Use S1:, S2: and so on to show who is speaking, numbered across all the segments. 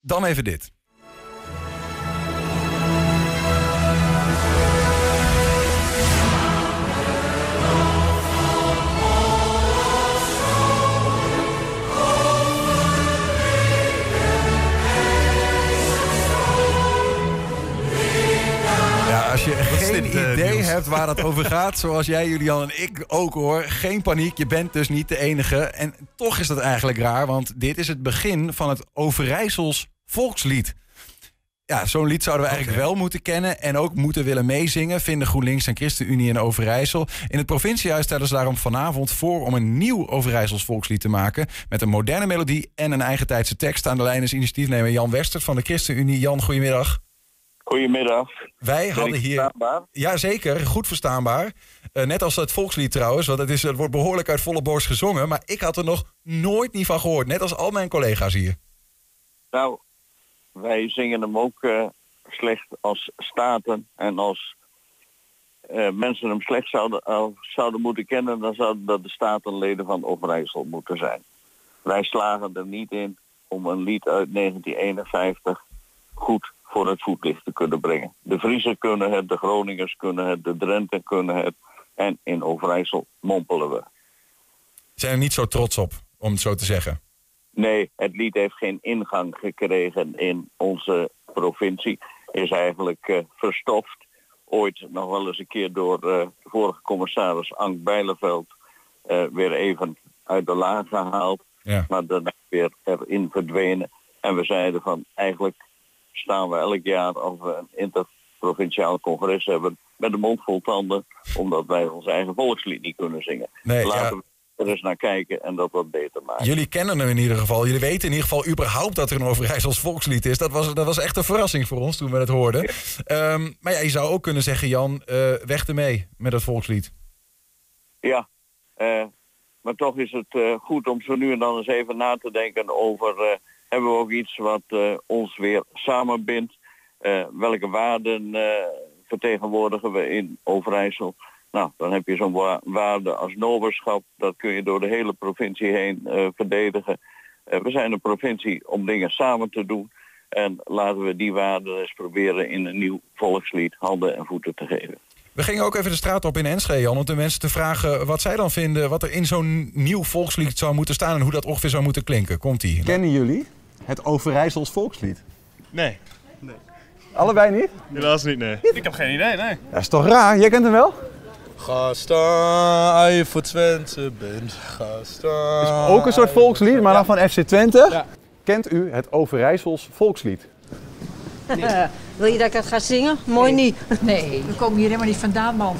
S1: Dan even dit. Ja, Als je geen
S2: dit, eh,
S1: idee
S2: Niels?
S1: hebt waar dat over gaat, zoals jij, Julian en ik ook hoor, geen paniek. Je bent dus niet de enige. En toch is dat eigenlijk raar, want dit is het begin van het Overijssels volkslied. Ja, zo'n lied zouden we eigenlijk wel moeten kennen en ook moeten willen meezingen, vinden GroenLinks en ChristenUnie in Overijssel. In het provinciehuis stellen ze daarom vanavond voor om een nieuw Overijssels volkslied te maken met een moderne melodie en een eigen tijdse tekst. Aan de lijn is initiatiefnemer Jan Westert van de ChristenUnie. Jan, goedemiddag.
S3: Goedemiddag.
S1: Wij
S3: Ben
S1: hadden
S3: ik
S1: hier
S3: verstaanbaar?
S1: Jazeker, goed verstaanbaar. Eh, net als het volkslied trouwens, want het, is, het wordt behoorlijk uit volle borst gezongen. Maar ik had er nog nooit niet van gehoord. Net als al mijn collega's hier.
S3: Nou, wij zingen hem ook eh, slecht als staten. En als eh, mensen hem slecht zouden, al- zouden moeten kennen, dan zouden dat de staten leden van Overijssel moeten zijn. Wij slagen er niet in om een lied uit 1951 goed voor het voetlicht te kunnen brengen. De Vriezen kunnen het, de Groningers kunnen het, de Drenten kunnen het. En in Overijssel mompelen we.
S1: Zijn er niet zo trots op, om het zo te zeggen.
S3: Nee, het lied heeft geen ingang gekregen in onze provincie. Is eigenlijk eh, verstoft. Ooit nog wel eens een keer door eh, de vorige commissaris Ank Bijleveld eh, weer even uit de laag gehaald.
S1: Ja.
S3: Maar daarna weer erin verdwenen. En we zeiden van eigenlijk staan we elk jaar als we een interprovinciaal congres hebben met de mond vol tanden. Omdat wij ons eigen volkslied niet kunnen zingen.
S1: Nee,
S3: Laten
S1: ja.
S3: we er eens naar kijken en dat wat beter maken.
S1: Jullie kennen hem in ieder geval. Jullie weten in ieder geval überhaupt dat er een Overijssels volkslied is. Dat was, dat was echt een verrassing voor ons toen we het hoorden. Ehm, maar ja, je zou ook kunnen zeggen, Jan, eh, weg ermee met dat volkslied.
S3: Ja, eh, maar toch is het eh, goed om zo nu en dan eens even na te denken over... eh, hebben we ook iets wat eh, ons weer samenbindt? Eh, welke waarden eh, vertegenwoordigen we in Overijssel? Nou, dan heb je zo'n wa- waarde als noberschap. Dat kun je door de hele provincie heen eh, verdedigen. Eh, we zijn een provincie om dingen samen te doen. En laten we die waarden eens proberen in een nieuw volkslied handen en voeten te geven.
S1: We gingen ook even de straat op in Enschede, Jan, om de mensen te vragen wat zij dan vinden, wat er in zo'n nieuw volkslied zou moeten staan en hoe dat ongeveer zou moeten klinken. Komt-ie.
S4: Kennen jullie het Overijssels volkslied?
S5: Nee,
S4: Allebei niet?
S5: helaas niet, nee. Ik heb geen idee, nee.
S4: Dat is toch raar? Jij kent hem wel?
S6: Ga staan, als je voor Twente bent. Ga staan.
S4: Ook een soort volkslied, maar dan van FC Twente. Kent u het Overijssels volkslied?
S7: Wil je dat ik dat ga zingen? Mooi niet.
S8: Nee, we komen hier helemaal niet vandaan, man.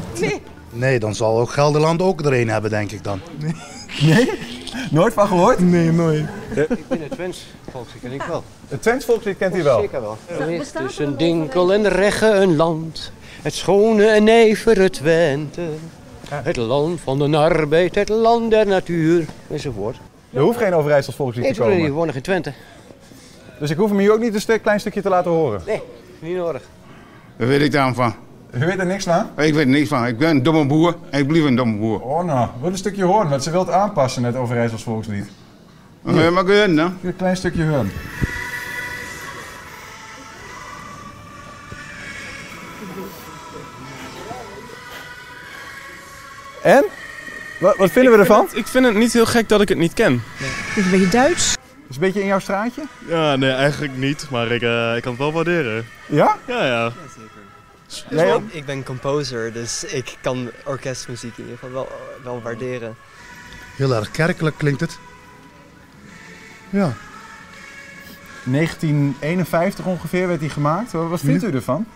S9: Nee, dan zal ook Gelderland ook er een hebben, denk ik dan.
S4: Nooit van gehoord? Nee, nooit.
S10: In het Twents, volgens ik denk wel.
S4: Het Twents volkslied kent u wel.
S10: Zeker wel. Er ligt tussen Dinkel en Regge een land, het schone en nevere Twente. Het land van de arbeid, het land der natuur, enzovoort.
S4: Er hoeft geen Overijssels volkslied
S10: Nee,
S4: te komen.
S10: we wonen in Twente.
S4: Dus ik hoef hem hier ook niet een stuk- klein stukje te laten horen.
S10: Nee, niet nodig.
S11: Daar weet ik dan van.
S4: U weet er niks van?
S11: Ik weet er niks van. Ik ben een domme boer en ik blijf een domme boer.
S4: Oh nou, wil een stukje horen, want ze wil het aanpassen, het Overijssels volkslied.
S11: Maar kun je maar kunnen, hè?
S4: Een klein stukje horen. En? Wat, wat vinden we ervan?
S5: Ik vind het niet heel gek dat ik het niet ken.
S8: Is een beetje Duits.
S4: Is een beetje in jouw straatje?
S5: Ja, nee, eigenlijk niet, maar ik, eh, ik kan het wel waarderen.
S4: Ja?
S5: Ja, ja.
S4: Jij ook?
S6: Ik ben composer, dus ik kan orkestmuziek in ieder geval wel, wel waarderen.
S9: Heel erg kerkelijk klinkt het. Ja,
S4: 1951 ongeveer werd die gemaakt. Wat wat vindt u ervan?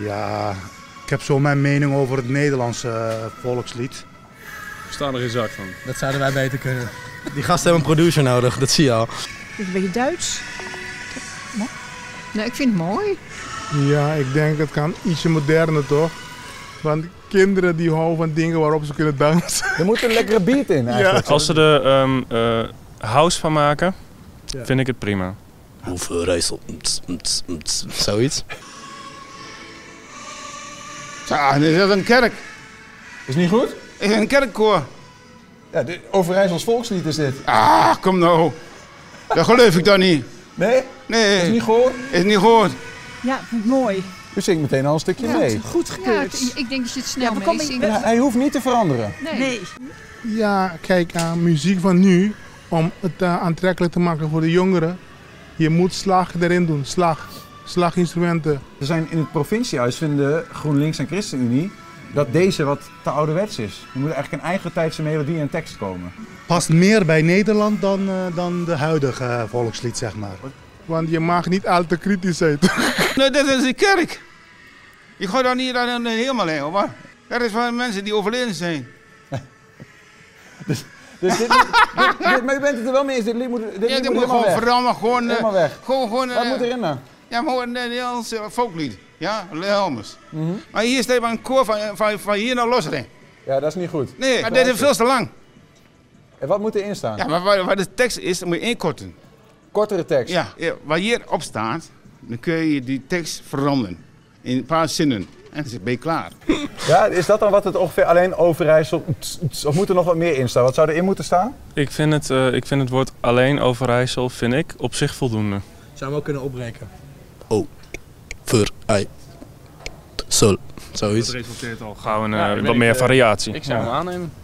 S9: ja ik heb zo mijn mening over het Nederlandse eh, volkslied.
S5: Staan er geen zak van.
S6: Dat zouden wij beter kunnen. Die gasten hebben een producer nodig, dat zie je al.
S8: Is een beetje Duits. Mo- Nou, ik vind het mooi.
S12: Ja, ik denk het kan ietsje moderner toch? Want kinderen die houden van dingen waarop ze kunnen dansen.
S4: Er moet een lekkere beat in eigenlijk.
S5: Als ze er ehm, eh, house van maken,
S6: Ja.
S5: vind ik het prima.
S6: Hoeveel reisel? Zoiets.
S11: Ja, Ah, dit is dat een kerk.
S4: Is niet goed?
S11: Is een kerkkoor.
S4: Ja, dit- Overijssels volkslied is dit.
S11: Ah, kom nou. Dat geloof ik dan niet.
S4: Nee?
S11: Nee.
S4: Is niet gehoord?
S11: Is niet gehoord.
S2: Ja, vind ik mooi.
S4: U zingt meteen al een stukje
S2: Ja,
S4: mee.
S2: goed gekeurd.
S8: Ja, ik denk dat je het snel
S2: we
S8: mee
S2: komen-
S8: zingt.
S4: En hij hoeft niet te veranderen.
S8: Nee.
S12: Ja, kijk, aan muziek van nu, om het eh, aantrekkelijk te maken voor de jongeren, je moet slag erin doen. Slag, slaginstrumenten.
S4: Er zijn in het provinciehuis vinden GroenLinks en ChristenUnie dat deze wat te ouderwets is. Er moet eigenlijk een eigen tijdse melodie en tekst komen.
S9: Past meer bij Nederland dan, eh, dan de huidige eh, volkslied, zeg maar.
S12: Want je mag niet al te kritisch zijn.
S11: Nee, dit is de kerk. Ik ga daar niet aan eh, helemaal heen, hoor. Dat is van mensen die overleden zijn.
S4: Dus dit, dit- dit- maar u bent het er wel mee eens, dit lied moet, dit lied
S11: Ja, dit
S4: moet
S11: moet
S4: helemaal
S11: gewoon
S4: weg.
S11: veranderen, gewoon... eh,
S4: Helemaal weg.
S11: Gewoon, gewoon...
S4: Wat
S11: eh,
S4: moet erin dan?
S11: Ja, maar gewoon een Nederlands eh, folklied. Ja, Helmers.
S4: Mhm.
S11: Maar hier staat maar een koor van, van, van hier naar losring.
S4: Ja, dat is niet goed.
S11: Nee, maar dit is veel te lang.
S4: En wat moet erin staan?
S11: Ja, maar waar, waar de tekst is, dan moet je inkorten.
S4: Kortere tekst?
S11: Ja, ja, waar hier op staat, dan kun je die tekst veranderen. In een paar zinnen. En dan ben je klaar.
S4: Ja, is dat dan wat het ongeveer alleen Overijssel... tss, tss, Of moet er nog wat meer in staan? Wat zou erin moeten staan?
S5: Ik vind het, eh, ik vind het woord alleen Overijssel vind ik, op zich voldoende.
S6: Zou hem ook kunnen opbreken.
S5: Oh.
S6: Voor ei. Sol. Zoiets.
S5: Dat resulteert al gauw in eh,
S6: Ja, ik
S5: wat
S6: weet,
S5: meer
S6: eh,
S5: variatie.
S6: ik zou hem
S5: aannemen.
S4: Ja,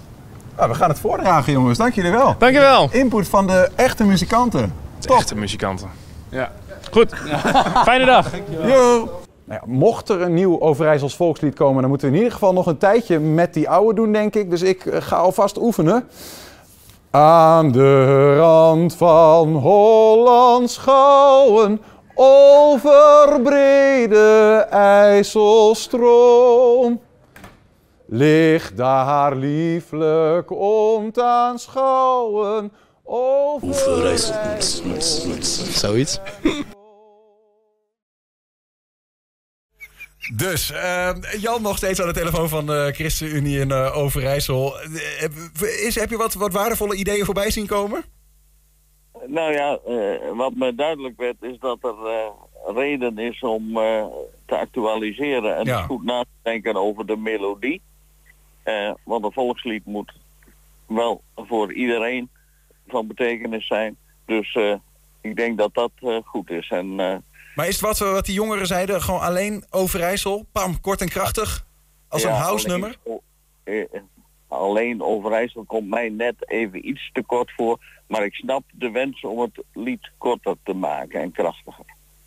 S4: Ah, we gaan het voordragen, jongens. Dank jullie wel. Dank je wel. Input van de echte muzikanten.
S5: Echte muzikanten. Ja. Goed. Fijne dag.
S4: Nou ja, mocht er een nieuw Overijssels volkslied komen, dan moeten we in ieder geval nog een tijdje met die oude doen, denk ik. Dus ik eh, ga alvast oefenen. Aan de rand van Holland schouwen, over brede IJsselstroom. Ligt daar lieflijk om te aanschouwen, over...
S6: Zoiets.
S1: Dus, eh, Jan nog steeds aan de telefoon van eh ChristenUnie in eh, Overijssel. Eh, heb- Is, heb je wat, wat waardevolle ideeën voorbij zien komen?
S3: Nou ja, eh, wat me duidelijk werd is dat er eh, reden is om eh, te actualiseren en
S13: Ja.
S3: goed na te denken over de melodie. Eh, want een volkslied moet wel voor iedereen van betekenis zijn. Dus eh, ik denk dat dat eh, goed is. En eh,
S1: Maar is het wat, we- wat die jongeren zeiden, gewoon alleen Overijssel? Pam, kort en krachtig? Als
S3: ja,
S1: een house nummer?
S3: Alleen, o- eh, alleen Overijssel komt mij net even iets te kort voor. Maar ik snap de wens om het lied korter te maken en krachtiger.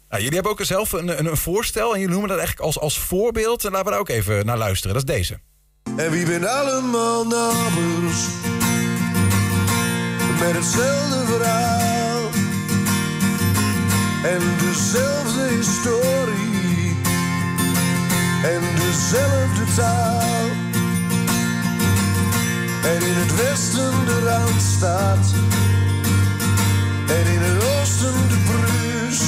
S1: Nou, jullie hebben ook zelf een, een, een voorstel en jullie noemen dat eigenlijk als, als voorbeeld. En laten we daar ook even naar luisteren. Dat is deze.
S14: En wie bent allemaal nabers met hetzelfde verhaal en dezelfde historie en dezelfde taal. En in het westen de Randstad en in het oosten de Bruus.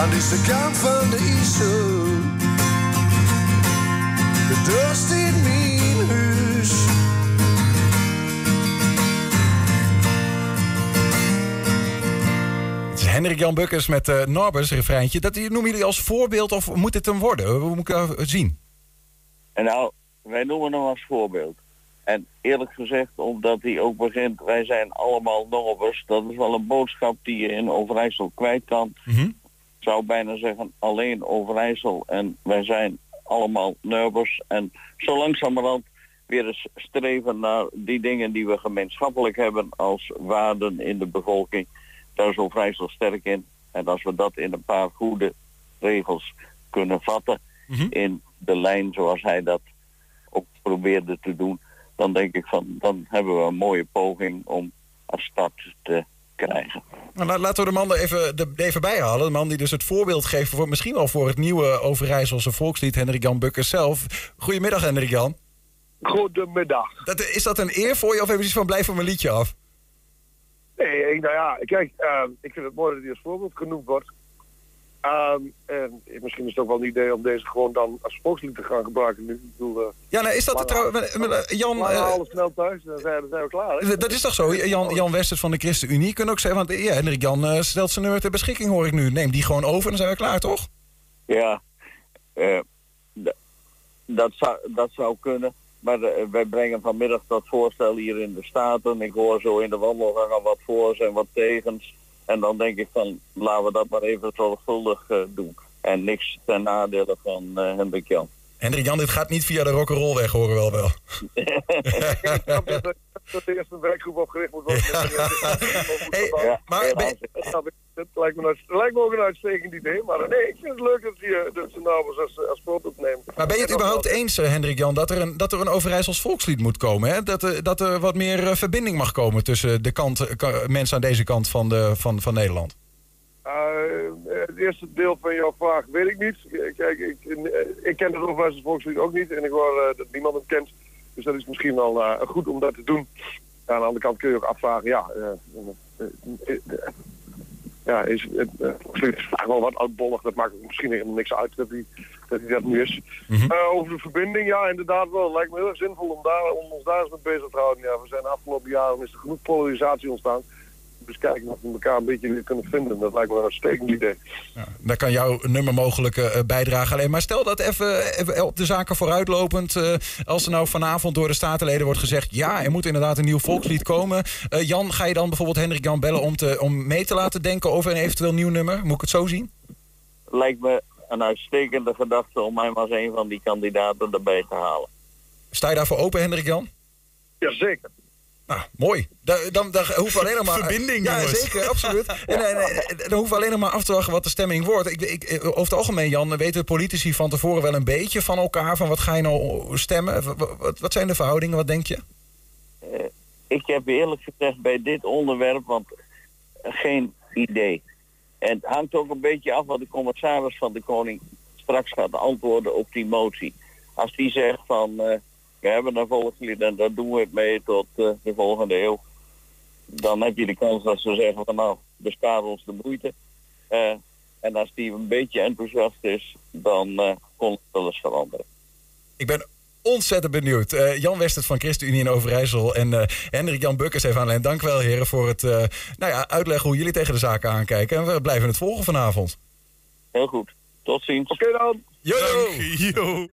S14: Aan deze kant van de IJssel de dorst in mijn huis.
S1: Het is Hendrik Jan Bukkers met eh Norbers refreintje. Dat noemen jullie als voorbeeld of moet het hem worden? Hoe moet ik dat zien?
S3: En nou, wij noemen hem als voorbeeld. En eerlijk gezegd, omdat hij ook begint, wij zijn allemaal nobbers. Dat is wel een boodschap die je in Overijssel kwijt kan. Ik zou bijna zeggen, alleen Overijssel en wij zijn allemaal nobbers. En zo langzamerhand weer eens streven naar die dingen die we gemeenschappelijk hebben als waarden in de bevolking. Daar is Overijssel sterk in. En als we dat in een paar goede regels kunnen vatten, in de lijn zoals hij dat ook probeerde te doen, dan denk ik van dan hebben we een mooie poging om als start te krijgen.
S1: Nou, la- laten we de man er even, de, even bij halen. De man die dus het voorbeeld geeft voor misschien wel voor het nieuwe Overijsselse volkslied, Hendrik Jan Bukkers zelf. Goedemiddag, Hendrik Jan.
S15: Goedemiddag.
S1: Dat, is dat een eer voor je of even iets van blijf van mijn liedje af?
S15: Nee, ik, nou ja, kijk, eh, ik vind het mooi dat hij als voorbeeld genoemd wordt. Ehm, en misschien is het ook wel een idee om deze gewoon dan als volkslied te gaan gebruiken nu. Ik bedoel, eh,
S1: Ja, nou, is dat
S15: lang-
S1: trouwens- maar, maar, eh, Jan,
S15: lang
S1: eh,
S15: alles snel thuis, dan zijn, dan zijn we klaar. hè?
S1: D- Dat is toch zo? Jan, Jan Westers van de ChristenUnie kunnen ook zeggen, want eh, ja, Hendrik Jan eh, stelt zijn nummer ter beschikking, hoor ik nu. Neem die gewoon over en dan zijn we klaar, toch?
S3: Ja, eh, d- dat, zou, dat zou kunnen. Maar eh, wij brengen vanmiddag dat voorstel hier in de Staten. Ik hoor zo in de wandelgangen wat voor's en wat tegens. Eh, En dan denk ik van, laten we dat maar even zorgvuldig eh, doen. En niks ten nadele van eh, Hendrik Jan.
S1: Hendrik Jan, dit gaat niet via de rock'n'roll weg, horen we wel wel.
S15: dat de eerste werkgroep opgericht moet worden.
S1: maar
S15: Het lijkt me, een uits- lijkt me ook een uitstekend idee, maar nee, ik vind het leuk dat, die, eh, dat ze namens als, als sport opnemen.
S1: Maar ben je het
S15: En dat-
S1: überhaupt eens, eh, Hendrik Jan, dat er een, dat er een Overijssels volkslied moet komen? Hè? Dat, er, dat er wat meer eh, verbinding mag komen tussen de kant, eh, ka- mensen aan deze kant van, de, van, van Nederland?
S15: Eh, het eerste deel van jouw vraag weet ik niet. Kijk, ik, eh, ik ken het Overijssel Volkslied ook niet en ik hoor eh, dat niemand hem kent. Dus dat is misschien wel eh, goed om dat te doen. Aan de andere kant kun je ook afvragen, ja, eh, eh, eh, eh, ja is het eh, Volkslied is vaak wel wat oudbollig. Dat maakt misschien helemaal niks uit dat hij dat, hij dat nu is. Eh, over de verbinding, ja, inderdaad wel. Lijkt me heel erg zinvol om, daar, om ons daar eens mee bezig te houden. Ja, we zijn de afgelopen jaren is er genoeg polarisatie ontstaan. Dus kijken of we elkaar een beetje weer kunnen vinden. Dat lijkt me een uitstekend idee.
S1: Daar kan jouw nummer mogelijk eh, bijdragen. Alleen maar stel dat even, even op de zaken vooruitlopend. eh, als er nou vanavond door de statenleden wordt gezegd. ja, er moet inderdaad een nieuw volkslied komen. Eh, Jan, ga je dan bijvoorbeeld Hendrik Jan bellen om, te, om mee te laten denken over een eventueel nieuw nummer? Moet ik het zo zien?
S3: Lijkt me een uitstekende gedachte om hem als een van die kandidaten erbij te halen.
S1: Sta je daarvoor open, Hendrik Jan?
S15: Jazeker.
S1: Nou, mooi. Da- Dan, dan hoeven we alleen nog maar...
S2: Verbinding,
S1: Ja,
S2: jongens.
S1: zeker, absoluut. En, en, en, dan hoeven we alleen nog maar af te wachten wat de stemming wordt. Ik, ik, eh, over het algemeen, Jan, weten politici van tevoren wel een beetje van elkaar... van wat ga je nou stemmen? Wa- wa- Wat, wat zijn de verhoudingen? Wat denk je?
S3: Eh, ik heb eerlijk gezegd bij dit onderwerp, want eh, geen idee. En het hangt ook een beetje af wat de commissaris van de Koning straks gaat antwoorden op die motie. Als die zegt van, eh, we hebben een volkslied en daar doen we het mee tot eh, de volgende eeuw. Dan heb je de kans dat ze zeggen van, nou, bespaar ons de moeite. Eh, en als die een beetje enthousiast is, dan eh, kon het wel eens veranderen.
S1: Ik ben ontzettend benieuwd. Eh, Jan Westert van ChristenUnie in Overijssel en eh, Hendrik-Jan Bukkers even aan de lijn. Dank wel, heren, voor het eh, nou ja, uitleggen hoe jullie tegen de zaken aankijken. En we blijven het volgen vanavond.
S3: Heel goed. Tot ziens.
S15: Oké dan.
S1: Yo.